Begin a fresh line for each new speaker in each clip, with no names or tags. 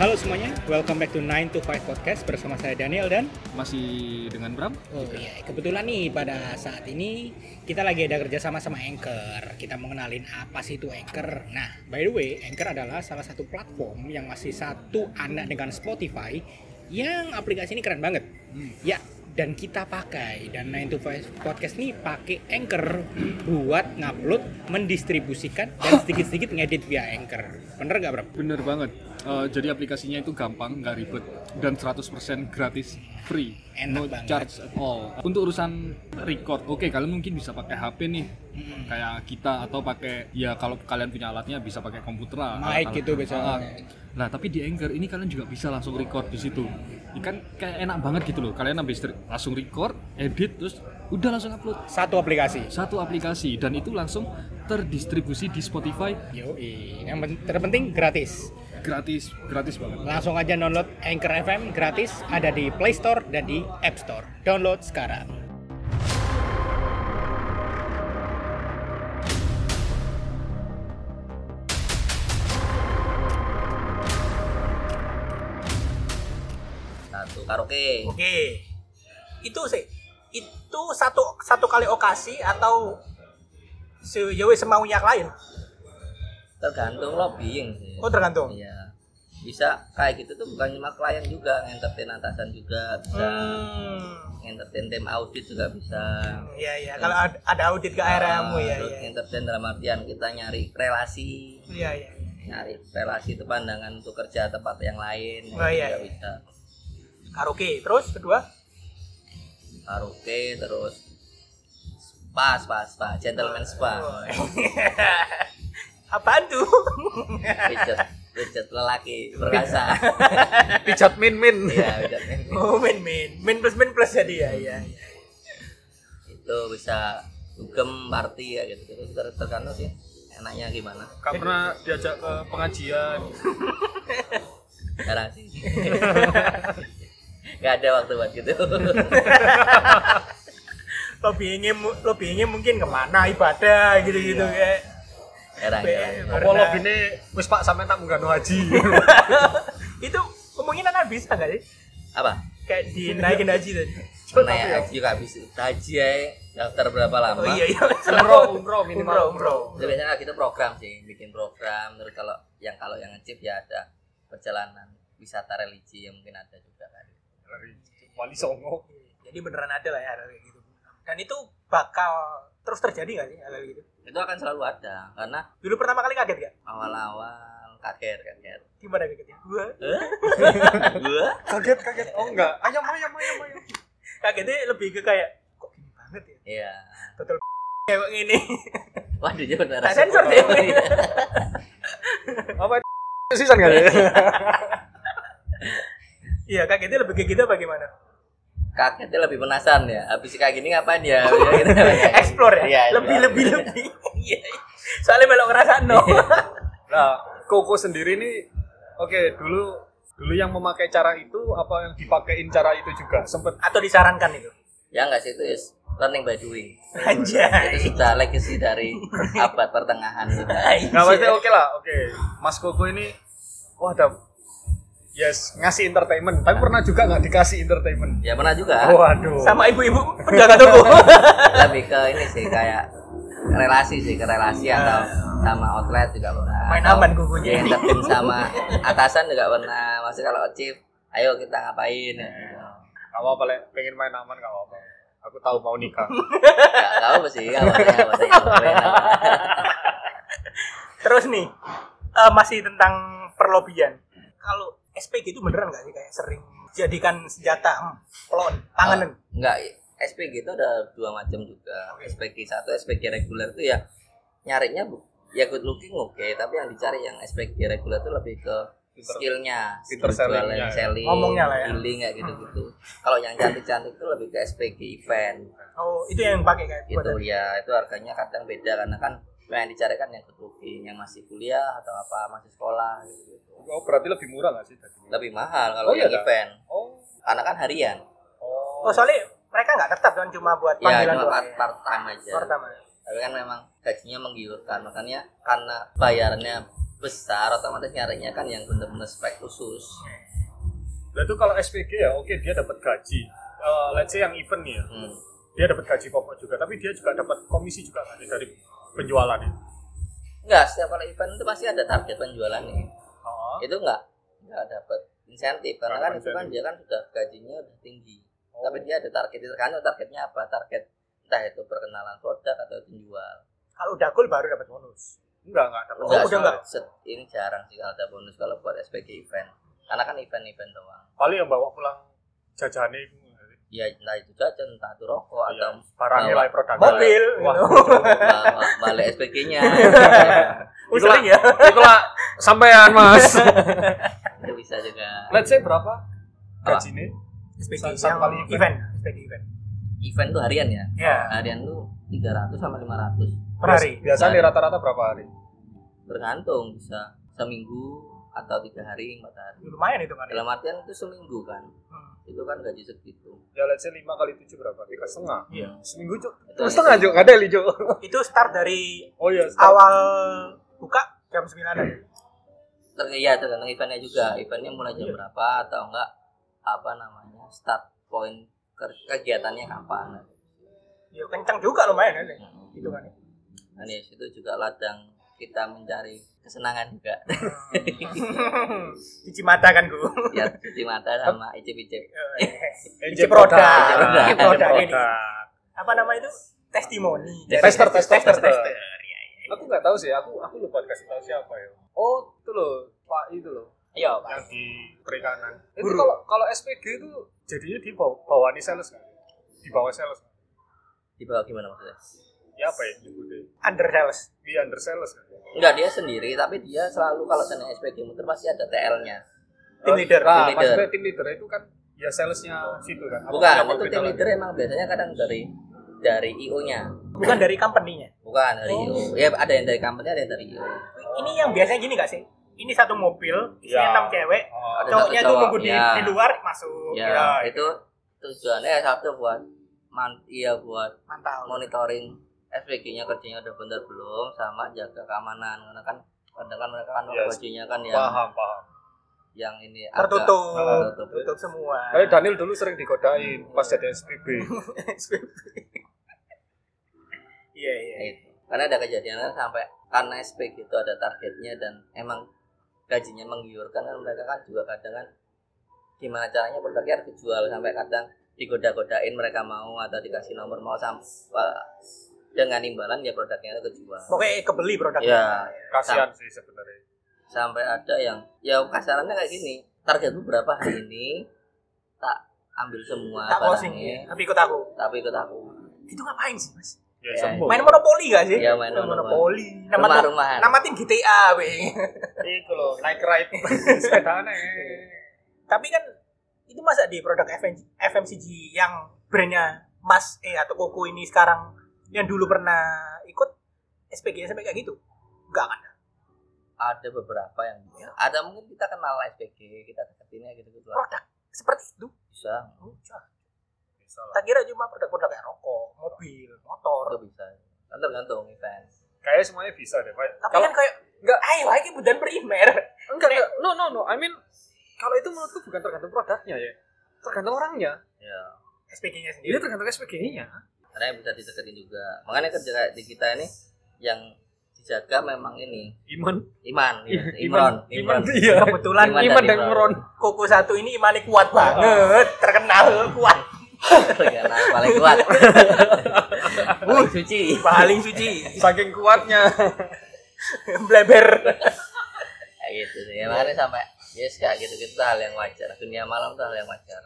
Halo semuanya, welcome back to 9 to 5 Podcast bersama saya Daniel dan
Masih dengan Bram?
Oh iya, kebetulan nih pada saat ini kita lagi ada kerjasama sama Anchor. Kita mau kenalin apa sih itu Anchor. Nah, by the way, Anchor adalah salah satu platform yang masih satu anak dengan Spotify yang aplikasi ini keren banget. Ya, dan kita pakai dan 9 to 5 Podcast nih pakai Anchor buat ngupload, mendistribusikan dan sedikit-sedikit ngedit via Anchor. Bener gak Bram?
Bener banget. Eh, jadi aplikasinya itu gampang, nggak ribet, dan 100% gratis, free,
Enak
no
banget.
charge at all. Untuk urusan record, oke kalian mungkin bisa pakai HP nih,
Mm.
kayak kita atau pakai ya kalau kalian punya alatnya bisa pakai komputer, lah,
Mic
alat-
gitu bisa.
Ah, Nah tapi di Anchor ini kalian juga bisa langsung record di situ. Ikan kayak enak banget gitu loh. Kalian habis re- langsung record, edit, terus udah langsung upload
Satu aplikasi.
satu aplikasi dan itu langsung terdistribusi di Spotify
Yoi, yang pen- terpenting gratis.
gratis gratis banget
Langsung aja download Anchor FM gratis ada di Play Store dan di App Store. Download sekarang.
satu karaoke
Oke. Itu sih itu satu satu kali okasi atau ya sejauh semaunya klien.
tergantung lobbying sih
Oh, tergantung.
iya bisa kayak gitu tuh bukan cuma klien juga entertain atasan juga bisa
Hmm.
entertain tim audit juga bisa
Iya iya, kalau ad- ada audit
Ah,
ke ARM ya
Terus
iya.
entertain dalam artian kita nyari relasi
Iya iya.
nyari relasi itu pandangan untuk kerja tempat yang lain
Oh, iya, iya.
juga bisa
Karaoke. Terus kedua?
karaoke terus spa spa spa gentleman
Oh,
spa
iya. Apaan tuh?
pijat pijat lelaki perkasa
pijat min min
iya pijat ini.
oh, min min. Min plus min plus jadi ya iya. iya.
itu bisa dugem party ya gitu gitu Ter- tergantung sih enaknya gimana
gak pernah diajak ke pengajian
jarang sih nggak ada waktu buat gitu
lobbyingnya mu- lobbyingnya mungkin kemana ibadah gitu-gitu kayak
jarang jarang
Be-
apa
Pernah.
lobine wis pak sampe tak munggah no haji
itu kemungkinan kan bisa nggak sih
apa
kayak dinaikin haji tadi
naik
ya.
haji juga habis haji ya daftar berapa lama
oh iya iya
umroh umroh
umroh
minimal
umroh
itu biasanya gitu program sih bikin program terus kalau yang kalau yang ngecip ya ada perjalanan wisata religi yang mungkin ada juga kan
wali songo
jadi beneran ada lah ya hal kayak gitu dan itu bakal terus terjadi nggak sih hal kayak gitu
itu akan selalu ada karena
dulu pertama kali kaget gak
awal-awal kaget kaget
gimana kagetnya gua
gua
kaget kaget oh enggak ayam ayam ayam ayam
kagetnya lebih ke kayak kok gini banget ya
iya
betul kayak gini
waduh dia benar
Tak sensor deh.
ya? apa sisan gak ya
iya kagetnya lebih ke kita bagaimana
kakeknya lebih penasaran ya habis kayak gini ngapain ya Ya, gitu.
explore
Iya,
ya lebih
explore.
lebih lebih iya soalnya belok ngerasa no
nah Iya. koko sendiri nih oke dulu dulu yang memakai cara itu apa yang dipakein cara itu juga sempet
atau disarankan itu
ya enggak sih itu is learning by doing
Anjay.
itu sudah legacy dari abad pertengahan sudah
Iya.
Nah, maksudnya oke lah, oke. Mas Koko ini, wah, ada yes ngasih entertainment, tapi pernah juga nggak dikasih entertainment?
ya pernah juga
Waduh.
sama ibu-ibu penjaga toko
lebih ke ini sih kayak relasi sih ke relasi atau sama outlet juga pernah
Iya. Main
Atau
aman kukunya.
ya, entertain sama atasan juga pernah maksudnya kalau chief ayo kita ngapain
Iya.
ya.
Gak apa-apa, Le. pengen main aman gak apa-apa. Aku tahu mau nikah.
Gak, gak apa sih gak apa-apa, gak apa-apa, gak apa-apa.
terus nih eh, masih tentang perlobian kalau SPG itu beneran nggak sih kayak sering jadikan senjata hmm, pelon panganan
Ah.
Oh, enggak, SPG itu ada gitu dua macam juga. SPG satu, SPG reguler itu ya nyarinya bu- ya good looking oke, tapi yang dicari yang SPG reguler itu lebih ke
Pinter.
skillnya, skill
Pinter
jualan,
sellingnya ya.
selling,
Ngomongnya lah ya.
dealing kayak gitu-gitu. Kalau yang cantik-cantik itu lebih ke SPG event
oh itu yang pakai kayak
gitu
buat-
ya. Itu harganya kadang beda karena kan yang dicari kan yang good looking, yang masih kuliah atau apa masih sekolah gitu.
Oh, berarti lebih murah gak sih? tadi?
Lebih mahal kalau
Oh, iya,
yang
Kak?
event.
Oh,
Karena kan harian.
oh soalnya mereka nggak tetap kan cuma buat
Iya,
Ya
panggilan
cuma
doang
part,
ya.
part time aja.
pertama
tapi kan memang gajinya menggiurkan makanya karena bayarannya besar otomatis nyarinya kan yang bener-bener spek khusus
Nah itu kalau SPG ya oke dia dapat gaji. Eh, let's say yang event nih ya,
hmm.
dia dapat gaji pokok juga, tapi dia juga dapat komisi juga nggak sih dari penjualan itu.
enggak setiap kali event itu pasti ada target penjualan nih
Oh,
itu enggak enggak dapat insentif karena
Nggak
kan
dapat
itu kan
insentif. Oh.
dia kan sudah gajinya udah tinggi tapi dia ada target itu kan targetnya apa target entah itu perkenalan produk atau penjual
Kalau udah gol baru dapat bonus.
enggak enggak dapat.
Oh, udah
soal-
enggak?
set- ini jarang sih kalau ada bonus kalau buat SPG event karena kan event-event doang
Paling yang bawa pulang jajanan itu.
ya entah itu jajan entah itu rokok
Ya,
Iya.
atau
barangnya
bawa-
lah produk.
Mobil.
Wah,
gitu.
bawa balik SPG-nya
Oh, sering ya.
Itulah sampean Mas.
itu bisa juga
Let's say berapa
Apa?
Ah,
gaji ini?
SPG
Satu
yang
kali event.
event. SPG event.
event tuh harian ya
Ya,
harian tuh 300 sama 500
per hari. Nah,
Biasanya rata-rata berapa hari?
bergantung bisa seminggu atau tiga hari empat hari
Lumayan itu kan. ya.
dalam artian itu seminggu kan
Hmm.
itu kan gaji segitu
Ya let's say 5 kali 7 berapa? 3 setengah.
Iya.
Seminggu cuk.
Itu
setengah cuk, ada li cuk.
Itu start dari
Oh iya. setengah.
awal buka jam 9 an.
Ter- ya tergantung eventnya juga
Hmm.
eventnya mulai
Iya.
jam berapa atau enggak apa namanya start point ke- kegiatannya kapan
Ya kencang juga lumayan ini. Gitu kan. ya.
dan ya situ juga ladang kita mencari kesenangan juga
Cuci mata kan gua.
ya cuci mata sama icip icip
Isi produk.
Isi
Isi
produk
Isi
ini. Apa nama itu? Testimoni.
Tester, tester,
tester,
tester.
tester.
Aku nggak tahu sih, aku aku lupa kasih tahu siapa ya. Oh, itu loh, Pak itu loh,
Iya, Pak.
yang di perikanan. Itu
Guru.
kalau kalau SPG itu jadinya di bawah bawaan sales kan? Di bawah sales.
di bawah gimana maksudnya
Ya apa ya nyebutnya?
Under sales.
Di under sales kan?
enggak dia sendiri tapi dia selalu kalau sana SPG muter pasti ada Oh, TL nya
Tim leader.
Tim
Nah,
leader.
maksudnya tim leader itu kan ya salesnya situ kan? Apa-
bukan
apa
itu
beda
tim
lagi?
leader emang biasanya kadang dari dari IO nya
Bukan dari company-nya.
Bukan dari
Oh.
IO. Ya ada yang dari company, ada yang dari IO.
Ini yang biasanya gini gak sih? Ini satu mobil, isinya
Ya.
enam cewek,
Oh,
Ada
cowoknya
satu
tuh
cowok,
nunggu di,
ya.
di luar masuk. Iya.
Ya, itu tujuannya ya satu buat man iya buat
mantap.
monitoring SPG-nya kerjanya udah bener belum sama jaga keamanan karena kan kadang kan mereka kan
Yes.
bajunya kan yang
paham paham.
yang ini agak
Tertutup,
tertutup.
tutup semua.
Kayak Daniel dulu sering digodain pas jadi SPB.
Iya, iya.
Ya, itu. Karena ada kejadian kan sampai karena SPG itu ada targetnya dan emang gajinya menggiurkan kan mereka kan juga kadang kan gimana caranya produknya harus dijual sampai kadang digoda-godain mereka mau atau dikasih nomor mau sampai dengan imbalan ya produknya itu kejual.
Pokoknya kebeli produknya.
Ya,
Kasihan sih sebenarnya.
sampai ada yang ya kasarannya kayak gini targetku berapa hari ini tak ambil semua
tak closing, iya.
barangnya,
tapi ikut aku.
tapi ikut aku
Itu ngapain sih, Mas?
Ya,
Ya, sembuh.
Main monopoli gak sih?
Iya, main
monopoli. Nama
rumah-rumahan
namatin GTA, weh.
Itu loh, naik ride eh. sepeda aneh.
Tapi kan itu masa di produk FMC FMCG yang brandnya Mas E atau Koko ini sekarang yang dulu pernah ikut SPG sampai kayak gitu? Enggak kan?
ada beberapa yang ada mungkin kita kenal SPG kita deketinnya gitu gitu
Produk seperti itu.
bisa
Udah. Tak kira cuma produk-produk kayak rokok, mobil,
itu
motor.
bisa kan tergantung event
Kayaknya semuanya bisa deh. Pak.
Tapi
Kalau
kan kayak enggak ayo lagi budan primer.
Enggak, enggak. No, no, no. I mean, kalau itu menurutku bukan tergantung produknya ya. Tergantung orangnya.
ya
SPG-nya
Ini
sendiri.
tergantung SPG-nya.
karena yang bisa dideketin juga makanya kerja kayak di kita ini yang dijaga memang ini
Iman.
iman ya.
Iman.
Imron Imron
Iya.
Kebetulan
Iman
Iman
dan
dan
Imron.
Imron.
Koko satu ini imani kuat banget, terkenal kuat,
karena Iya, paling kuat paling suci
paling suci,
Saking kuatnya.
bleber.
kayak gitu sih ya, makanya sampai yes kayak gitu gitu hal yang wajar dunia malam tuh hal yang wajar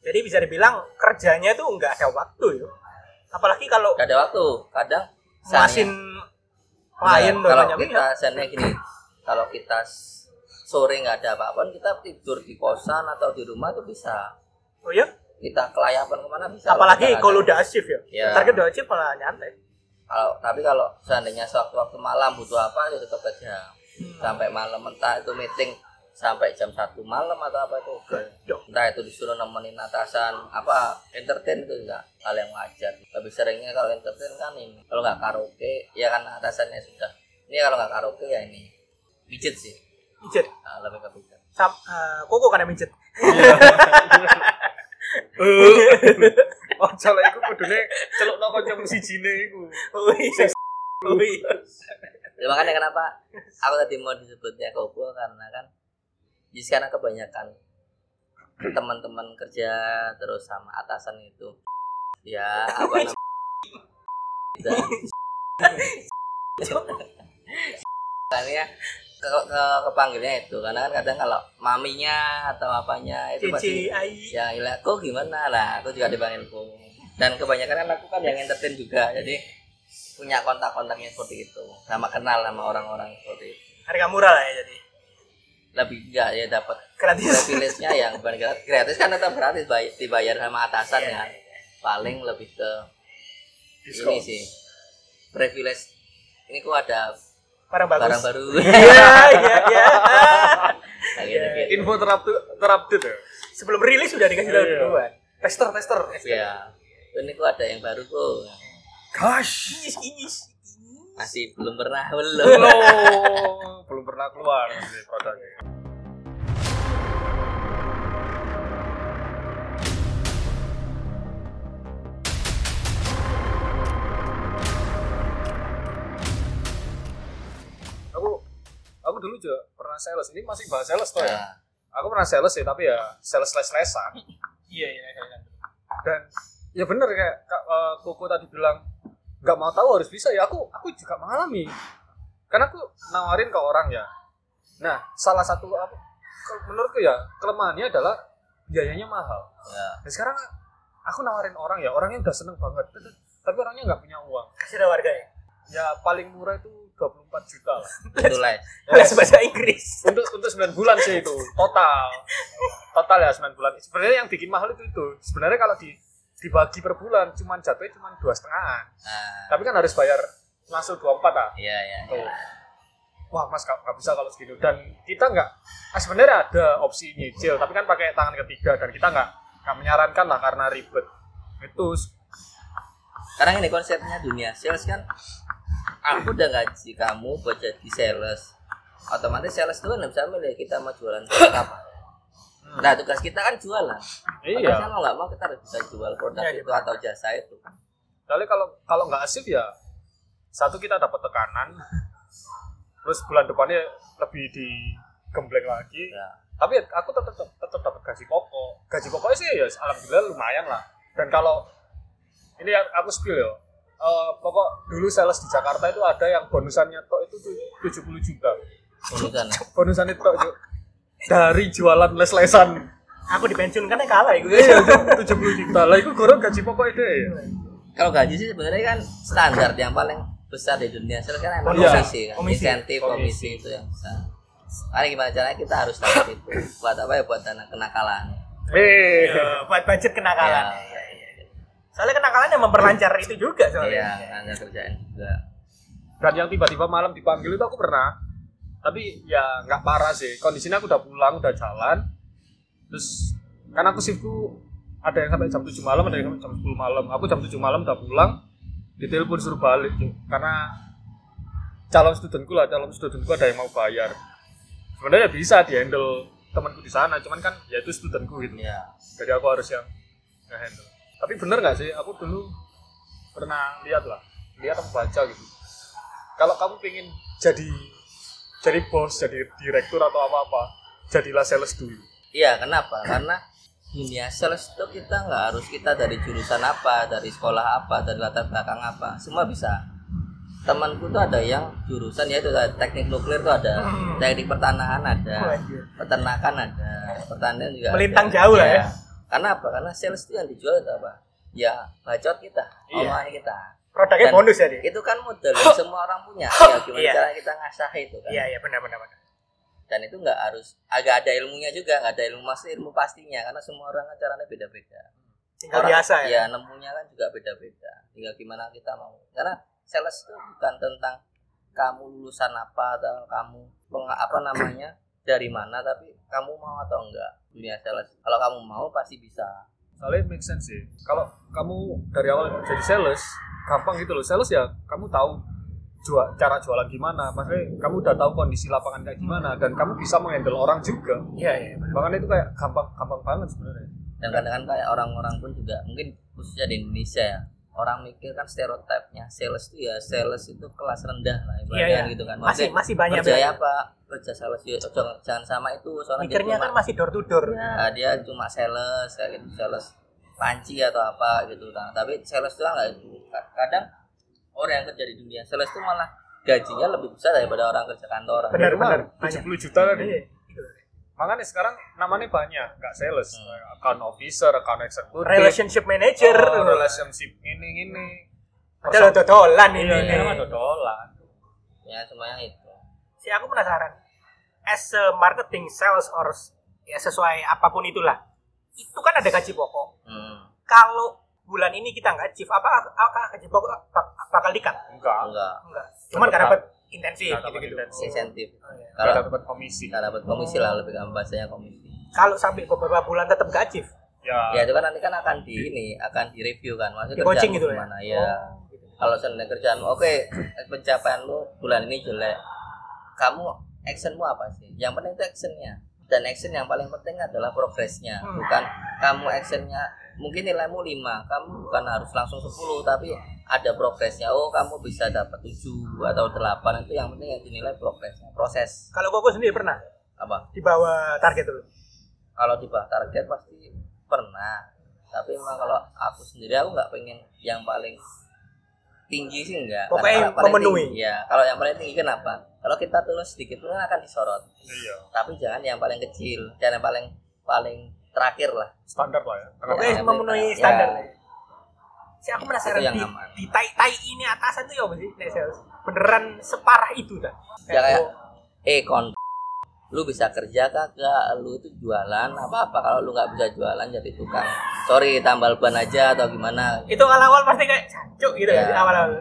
Jadi bisa dibilang kerjanya tuh nggak ada waktu ya. Apalagi kalau
gak ada waktu kadang
masin
siangnya-
klien
Nah,
udah
kalau
banyak
kita sennya gini kalau kita s- sore nggak ada apa-apa kita tidur di kosan atau di rumah tuh bisa
minat. Oh ya,
kita kelayapan kemana bisa
apalagi
Kita
kalau
nggak ada.
udah shift ya.
Ya.
Target udah shift malah nyantai.
kalau tapi kalau seandainya sewaktu-waktu malam butuh apa ya tetap kerja sampai malam entah itu meeting sampai jam satu malam atau apa itu oke.
Dok.
entah itu disuruh nemenin atasan apa entertain itu enggak hal yang wajar lebih seringnya kalau entertain kan ini kalau nggak karaoke ya kan atasannya sudah ini kalau nggak karaoke ya ini Widget sih.
Mijet.
Ah, lebih ke widget.
Sam, eh, koko karena mijet.
Oh, soalnya iku kudune celuk no kancamu sijine iku.
Oh iya. Oh iya.
Ya, makanya kenapa aku tadi mau disebutnya koko karena kan jadi sekarang kebanyakan teman-teman kerja terus sama atasan itu ya apa namanya dan makanya ke, ke, kepanggilnya itu karena kan kadang kalau maminya atau apanya itu pasti
Cici, ai.
ya gila kok gimana lah aku juga dipanggil kok dan kebanyakan kan aku kan yang entertain juga jadi punya kontak-kontaknya seperti itu sama kenal sama orang-orang seperti itu
Harga murah lah ya jadi.
lebih enggak ya dapat
Gratis.
privilege-nya yang bukan gratis, gratis kan tetap gratis bay- dibayar sama atasan
Iya,
kan paling lebih ke ini sih privilege ini kok ada
Barang
barang
bagus.
baru
Iya, iya, iya.
Nah, gitu-gitu.
Info terupdate terupdate ya.
Sebelum rilis sudah dikasih tahu
Iya.
duluan.
Tester tester.
ya ini kok ada yang baru kok
Gosh.
Inyis, inyis.
masih belum pernah belum
Oh, belum pernah keluar dari produknya. Aku aku dulu juga pernah sales. Ini masih bahas sales toh ya.
Nah,
Aku pernah sales ya, tapi ya sales les-lesan.
Iya, iya, iya.
Dan ya bener kayak Kak eh, Koko tadi bilang nggak mau tahu harus bisa ya aku aku juga mengalami karena aku nawarin ke orang ya nah salah satu apa kalau menurutku ya kelemahannya adalah biayanya mahal
ya.
dan sekarang aku nawarin orang ya orangnya udah seneng banget tapi orangnya nggak punya uang
Kasih tahu harga ya.
ya paling murah itu 24 juta lah
itu lah
Les bahasa Inggris.
untuk untuk 9 bulan sih itu total total ya 9 bulan sebenarnya yang bikin mahal itu itu sebenarnya kalau di dibagi per bulan cuman jatuhnya cuman dua setengahan
Nah,
tapi kan harus bayar masuk 24 lah
iya iya
ah. Tuh. wah mas nggak nggak bisa kalau segitu dan kita nggak ah, sebenarnya ada opsi nyicil tapi kan pakai tangan ketiga dan kita nggak nggak menyarankan lah karena ribet itu s-
Sekarang ini konsepnya dunia sales kan aku udah gaji kamu buat jadi sales. Otomatis sales itu kan nggak bisa milih kita mau jualan produk apa. Nah tugas kita kan jualan. Iya. gitu.
iya
Kan mau nggak mau kita harus bisa jual produk
Iya,
itu atau jasa itu.
soalnya kalau kalau nggak asik ya satu kita dapat tekanan terus bulan depannya lebih digembleng lagi
Ya.
tapi aku tetap tetap, tetap dapat gaji pokok gaji pokoknya sih ya alhamdulillah lumayan lah dan kalau ini yang aku spill ya Eh, pokok dulu sales di Jakarta itu ada yang bonusannya tok itu tuh 70 juta
Urusan.
bonusannya tok Cuk. dari jualan les-lesan
Aku dipensiunkan ya kalah ya gue.
iya Cuk, 70 juta lah itu kurang gaji ya. pokoknya deh
Kalau gaji sih sebenarnya kan standar yang paling besar di dunia sales kan emang
Iya.
komisi, kan?
Komisi.
insentif komisi.
Komisi.
itu yang besar. Makanya gimana caranya kita harus dapat itu buat apa ya buat dana kenakalan.
eh
Iya, Buat budget
Iya,
kenakalan. Soalnya kenakalan yang memperlancar itu juga
iya,
soalnya.
ada kerjaan juga.
dan yang tiba-tiba malam dipanggil itu aku pernah tapi ya nggak parah sih kondisinya aku udah pulang udah jalan terus karena aku shiftku ada yang sampai jam 7 malam ada yang sampai jam 10 malam aku jam 7 malam udah pulang ditelepon suruh balik Cuk. karena calon studentku lah calon studentku ada yang mau bayar sebenarnya bisa dihandle temanku di sana cuman kan ya itu studentku gitu
Iya.
jadi aku harus yang ngehandle tapi bener nggak sih aku dulu pernah lihat lah lihat atau baca gitu kalau kamu pengen jadi jadi bos jadi direktur atau apa apa jadilah sales dulu
Iya, kenapa? Karena dunia sales itu kita nggak harus kita dari jurusan apa, dari sekolah apa, dari latar belakang apa, semua bisa. Temanku tuh ada yang jurusan yaitu ada teknik nuklir tuh ada,
Hmm.
teknik pertanahan ada,
Waduh.
peternakan ada, pertanian juga.
Melintang
ada.
jauh lah
Iya.
ya.
Karena apa? Karena sales itu yang dijual itu apa? Ya bacot kita,
Iya.
omongan kita.
Produknya
Dan-
bonus jadi.
Itu kan modal yang semua orang punya. Ya gimana
Iya.
cara kita ngasah itu kan?
Iya, iya benar benar benar.
dan itu nggak harus agak ada ilmunya juga nggak ada ilmu maksudnya ilmu pastinya karena semua orang kan caranya beda-beda
Tinggal biasa ya.
ya nemunya kan juga beda-beda tinggal gimana kita mau karena sales itu bukan tentang kamu lulusan apa atau kamu peng- apa namanya dari mana tapi kamu mau atau enggak dunia sales kalau kamu mau pasti bisa
soalnya make sense sih kalau kamu dari awal jadi sales gampang gitu loh sales ya kamu tahu jual cara jualan gimana pasti kamu udah tahu kondisi lapangan kayak gimana dan kamu bisa menghandle orang juga
Iya, iya. benar.
makanya itu kayak gampang gampang banget sebenarnya
dan kadang-kadang kayak orang-orang pun juga mungkin khususnya di Indonesia ya orang mikir kan stereotipnya sales itu ya sales itu kelas rendah lah ibaratnya
iya.
gitu kan
Masih
Maksudnya,
masih banyak.
kerja
Bang.
ya pak kerja sales ya jangan, jangan sama itu soalnya
Mikirnya
dia
kan
cuma
masih door to door.
nah, dia cuma sales kayak gitu sales panci atau apa gitu kan tapi sales itu kan nggak itu kadang orang yang kerja di dunia sales itu malah gajinya lebih besar daripada orang kerja kantoran
Benar,
Minimal
benar.
70 juta tadi
Iya.
makanya sekarang namanya banyak nggak sales
Hmm.
account officer account executive
Relationship manager.
oh, relationship ini ini
Hmm.
Padahal dodolan ini.
iya
ini.
iya mah dodolan
ya semuanya itu
Si aku penasaran. As a marketing sales or s- ya sesuai apapun itulah. Itu kan ada gaji pokok.
hmm,
Kalau bulan ini kita nggak achieve, apa apakah gaji pokok bak- bakal dikat?
enggak
enggak
Enggak. Cuman nggak dapat intensif
Nggak dapat
gitu-gitu.
intensif.
insentif
Oh, iya.
nggak
kalau
dapat komisi
nggak dapat komisi lah lebih gampang bahasanya komisi
Kalau sampai beberapa bulan tetap nggak achieve,
ya
ya
itu kan nanti kan akan di ini akan di review kan maksudnya
Di
kerjaan
coaching gitu ya? gitu.
gimana ya, kalau seandainya kerjaan oke pencapaian lu bulan ini jelek kamu actionmu apa sih yang penting itu actionnya dan action yang paling penting adalah progresnya
Hmm.
bukan kamu actionnya mungkin nilaimu 5 kamu bukan harus langsung 10 tapi ada progresnya oh kamu bisa dapat 7 atau 8 itu yang penting yang dinilai progresnya proses
Kalau Koko sendiri pernah
apa
di bawah target dulu.
kalau di bawah target pasti pernah tapi memang kalau aku sendiri aku nggak pengen yang paling tinggi sih enggak
Pokoknya
Karena kalau paling
memenuhi.
tinggi- ya kalau yang paling tinggi kenapa kalau kita tulis sedikit pun akan disorot
iya
tapi jangan yang paling kecil jangan yang paling paling terakhir lah
standar lah ya
Oke,
Tengah-tengah.
memenuhi
Ya.
standar. Si aku penasaran
Itu yang
di,
aman.
di tai tai ini atasan tuh ya apa sih? Nek sales. Beneran separah itu dah.
Ya, kayak-
oh,
eh kon lu bisa kerja kagak lu itu jualan apa apa kalau lu nggak bisa jualan jadi tukang sorry tambal ban aja atau gimana
itu awal-awal pasti kayak cancuk gitu
Ya.
ya. awal-awal.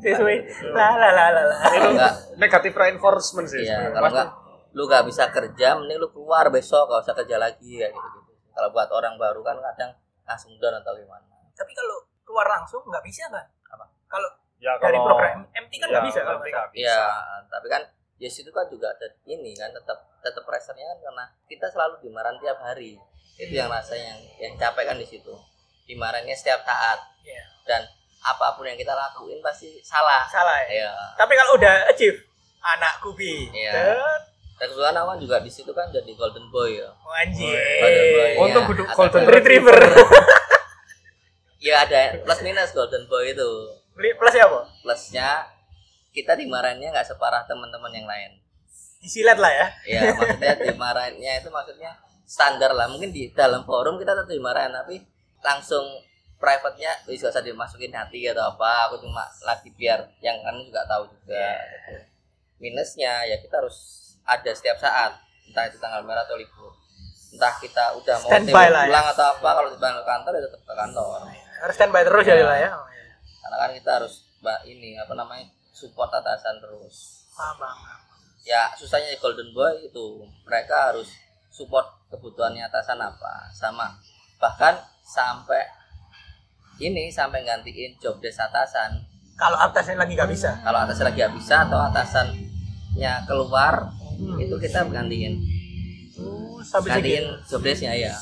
Sesuai la la la la la.
Kalau nggak
negatif reinforcement sih
Iya,
sebenarnya.
kalau
Pasti.
enggak lu nggak bisa kerja, mending lu keluar besok, nggak usah kerja lagi kayak gitu. Kalau buat orang baru kan kadang langsung down atau gimana.
Tapi kalau keluar langsung nggak bisa kan?
Apa?
Kalau
ya,
dari
kalau-
program MT kan nggak
ya,
bisa kalau
nanti
nggak salah.
nggak bisa.
Iya, tapi kan Yes itu kan juga ada ini kan tetap tetap pressure-nya kan karena kita selalu dimarahin tiap hari. Itu yang rasanya yang, yang capek kan di situ. Dimarahinnya setiap saat.
Iya.
Dan apapun yang kita lakuin pasti salah.
Salah ya.
Iya.
Tapi kalau udah achieve anakku bi.
Iya.
Cet,
Dan kebetulan aku kan juga di situ kan jadi golden boy ya.
oh, Anjir.
Golden boy.
Untung kudu
Agak-
golden
Retriever.
Ya ada plus minus golden boy itu.
Beli plus ya, apa?
plusnya kita dimarahinnya nggak separah teman-teman yang lain
Disilet lah ya.
ya maksudnya dimarahinnya itu maksudnya standar lah mungkin di dalam forum kita tetap dimarahin tapi langsung private-nya "Wih, gak usah dimasukin hati atau apa aku cuma lagi biar yang kan juga tahu juga
Ya.
minusnya ya kita harus ada setiap saat entah itu tanggal merah atau libur entah kita udah mau
Standby
tiba
lah ya.
pulang atau apa kalau dipanggil ke kantor ya tetap ke kantor
Harus standby terus
Iya.
ya lah ya.
karena kan kita harus ba- ini apa namanya support atasan terus
Paham, paham.
ya susahnya di Golden Boy itu mereka harus support kebutuhannya atasan apa sama bahkan sampai ini sampai gantiin job desk atasan
Kalau atasnya lagi nggak bisa.
kalau atasan lagi nggak bisa atau atasannya keluar itu kita gantiin
Uh, sampai
Hmm. gantiin
segini.
job desknya ya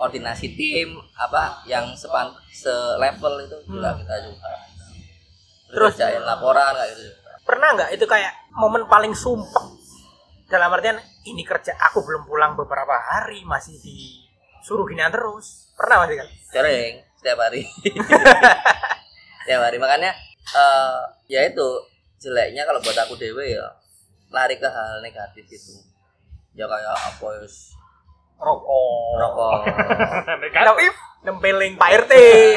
koordinasi tim apa yang sepan selevel itu juga kita juga terus
Terus?
kerjain laporan kayak gitu juga.
Pernah nggak itu kayak momen paling sumpah dalam artian ini kerja aku belum pulang beberapa hari masih disuruh ginian terus. Pernah masih kan?
sering setiap hari setiap hari makanya eh ya itu jeleknya kalau buat aku dewe ya lari ke hal negatif gitu ya kayak apa ya
rokok kan
rokok
negatif
Tempeling Pak RT.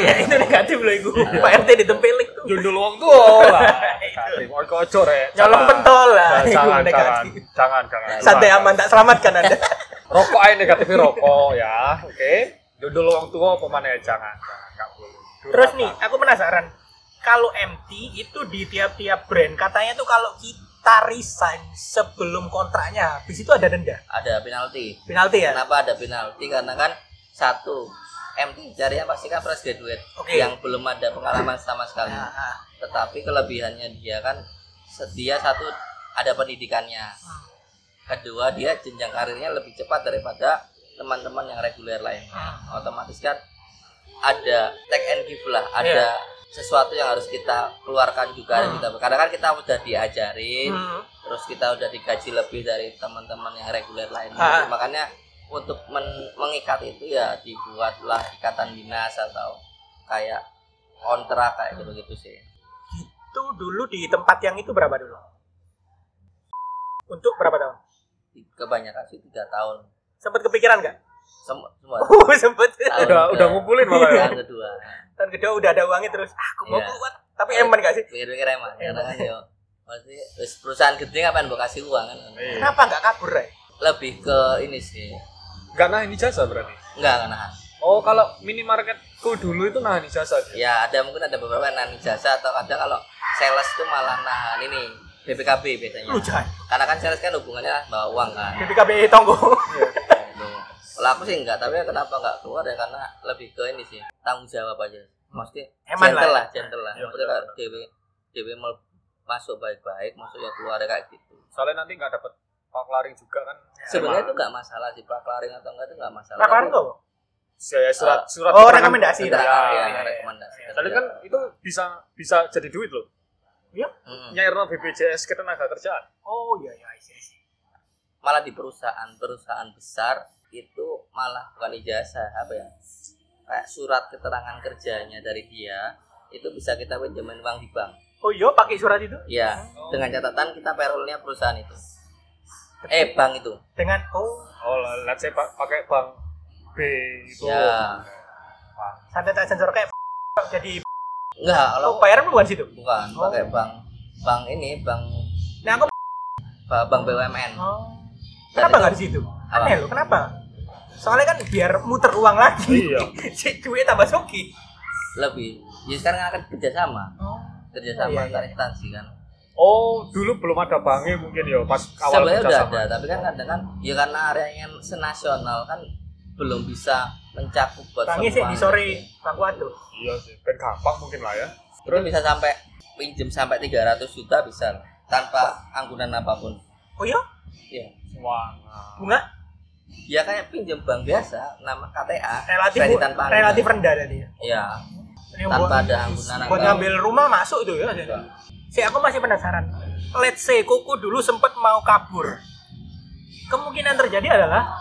Ya, itu negatif loh itu. Pak RT ditempeling tuh.
jundul wong tua lah negatif ojo ojo rek
Nyolong
Jangan.
pentol lah.
Jangan,
Itu
jangan jangan
negatif.
jangan jangan
Santai
Jangan.
aman tak selamatkan Anda.
rokok aja negatifnya rokok ya oke jundul wong tua pemane jangan jangan nggak boleh
Terus
Durhaka.
nih, aku penasaran. Kalau MT itu di tiap-tiap brand katanya tuh kalau kita resign sebelum kontraknya habis itu ada denda.
ada penalti
Penalti ya?
kenapa ada penalti karena kan satu MT carinya pasti kan fresh graduate
Oke.
yang belum ada pengalaman sama sekali
Nah,
tetapi kelebihannya dia kan sedia satu ada pendidikannya kedua dia jenjang karirnya lebih cepat daripada teman-teman yang reguler lainnya
Hmm.
otomatis kan ada take and give lah
Iya.
ada sesuatu yang harus kita keluarkan juga dan
Hmm.
kita karena kan kita udah diajarin
Hmm.
terus kita udah digaji lebih dari teman-teman yang reguler lainnya
Ah.
makanya untuk men- mengikat itu ya dibuatlah ikatan dinas atau kayak kontrak kayak gitu gitu sih
Itu dulu di tempat yang itu berapa dulu? Untuk berapa tahun?
kebanyakan sih tiga tahun
Sempat kepikiran nggak?
Sem- semua
Oh, sempat.
tahun
Udah-
ke-
udah ngumpulin malah ya?
tahun kedua
Tahun kedua udah ada uangnya terus. Ah, aku mau
Iya.
keluar. Tapi eman nggak sih?
pikir-pikir emang karena kan yo pasti wis perusahaan gede ngapain mau kasih uang kan
Iya.
Kenapa nggak kabur, Ray?
lebih ke ini sih
Nggak nahan ijazah berarti.
enggak kan nahan
Oh, kalau minimarketku dulu itu nahan ijazah dia.
ya ada mungkin ada beberapa yang nahan ijazah atau ada kalau sales tuh malah nahan ini BPKB biasanya
Lu jangan.
karena kan sales kan hubungannya bawa uang kan
BPKB tonggo.
Gitu. kalau aku sih enggak tapi kenapa enggak keluar ya karena lebih ke ini sih tanggung jawab aja mesti
Eman
gentle
lah. ya.
lah gentle lah
Iya,
maksudnya kalau dewi dewi mau masuk baik-baik masuk ya keluar ya kayak gitu
Soalnya nanti nggak dapat paklaring juga kan.
sebenarnya itu enggak masalah sih praklaring atau enggak itu enggak masalah
Nah, kemarin nggak?
Saya Ya, surat
Ah.
surat.
Oh,
keterangan-
rekomendasi.
Tapi-
Iya,
Iya,
iya,
iya.
rekomendasi
Soalnya kan itu bisa bisa jadi duit loh.
Mm.
Hmm.
Nyairno BPJS ketenaga kerjaan.
Oh, iya iya. iya, iya.
malah di perusahaan perusahaan besar itu malah bukan ijazah apa ya kayak surat keterangan kerjanya dari dia itu bisa kita pinjamin uang di bank
Oh, iya pakai surat itu
ya
Oh.
dengan catatan kita payrollnya perusahaan itu eh bank itu
dengan oh,
Oh, let's say pa- pakai bank B itu.
Oh. Iya.
ya
santai tak sensor kayak jadi
enggak
oh,
kalau
bayaran bukan situ.
bukan
Oh.
pakai bank bank ini bank
Nah, aku
bank BUMN
oh.
Dan
Kenapa
itu-
nggak di situ?
Apa?
Aneh loh, kenapa? Soalnya kan biar muter uang lagi.
Iya.
Cek duit tambah soki.
lebih ya sekarang akan kerjasama
Oh.
kerjasama
Iya, iya.
antar instansi kan
Oh, dulu belum ada banknya mungkin ya pas awal
sebenarnya udah
kerjasama.
ada tapi kan kadang kan ya karena areanya senasional kan belum bisa mencakup buat
Tangi sih
semua
di sore Bang Waduh.
Iya sih, ben gampang mungkin lah ya.
itu bisa sampai pinjem sampai 300 juta bisa tanpa anggunan apapun
Oh iya,
ya
Wah.
bunga
ya kayak pinjem bank biasa nama KTA
relatif
kredit tanpa anggunan.
relatif rendah tadi ya.
ya
Ini
tanpa
buat-
ada anggunan
buat
atau-
ngambil rumah masuk itu ya. Si aku masih penasaran. Let's say Koko dulu sempat mau kabur. Kemungkinan terjadi adalah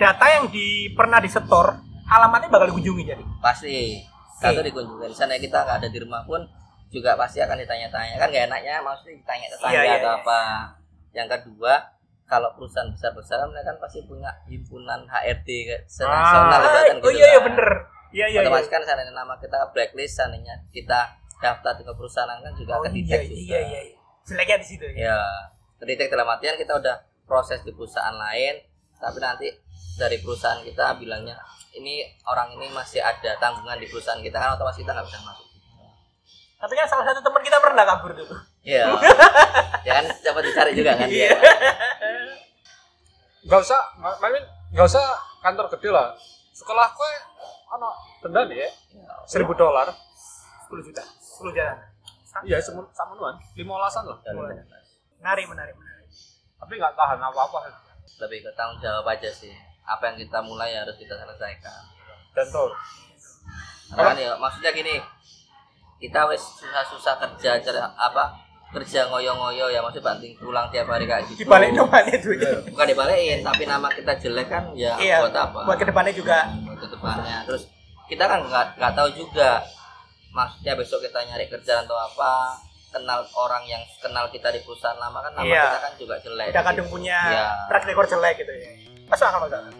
data yang di pernah disetor alamatnya bakal dikunjungi jadi.
pasti satu dikunjungi sana kita nggak ada di rumah pun juga pasti akan ditanya-tanya kan gak enaknya maksudnya ditanya tetangga
Iya, iya,
atau
iya.
apa yang kedua kalau perusahaan besar-besar kan mereka kan pasti punya himpunan HRD ke- senasional
Ah,
ibaratkan
oh
gitu
iya iya
kan.
bener. Iya iya. iya.
otomatis kan seandainya nama kita ke blacklist seandainya kita daftar ke perusahaan kan juga
Oh,
akan
iya
detect juga
iya iya. iya. Jeleknya di situ ya.
ya kedetek dalam artian kita udah proses di perusahaan lain tapi nanti dari perusahaan kita bilangnya ini orang ini masih ada tanggungan di perusahaan kita kan otomatis kita nggak bisa masuk
Tapi kan salah satu teman kita pernah kabur dulu.
ya ya kan dapat dicari juga kan dia
Enggak usah, Melvin, enggak usah kantor gede lah. Sekolah gue ana denda nih ya, 1000 dolar.
10 juta. 10 juta.
Iya, semun samunuan, 15-an lah.
Dan
Menarik menarik menarik.
Tapi enggak tahan apa-apa.
lebih ke tanggung jawab aja sih apa yang kita mulai harus kita selesaikan
Dan tuh,
Karena kan ya maksudnya gini, kita wes susah-susah kerja cari apa kerja ngoyo-ngoyo ya maksudnya banting tulang tiap hari kayak gitu.
Dibalik nomornya duitnya.
Bukan dibalikin, tapi nama kita jelek kan ya
Iya.
buat apa?
Buat kedepannya juga.
Buat ke depannya. Terus kita kan nggak nggak tahu juga maksudnya besok kita nyari kerjaan atau apa kenal orang yang kenal kita di perusahaan lama kan nama
Iya.
kita kan juga jelek.
Udah kadung
gitu.
punya
Iya.
track record jelek gitu ya. Masuk akal masuk akal.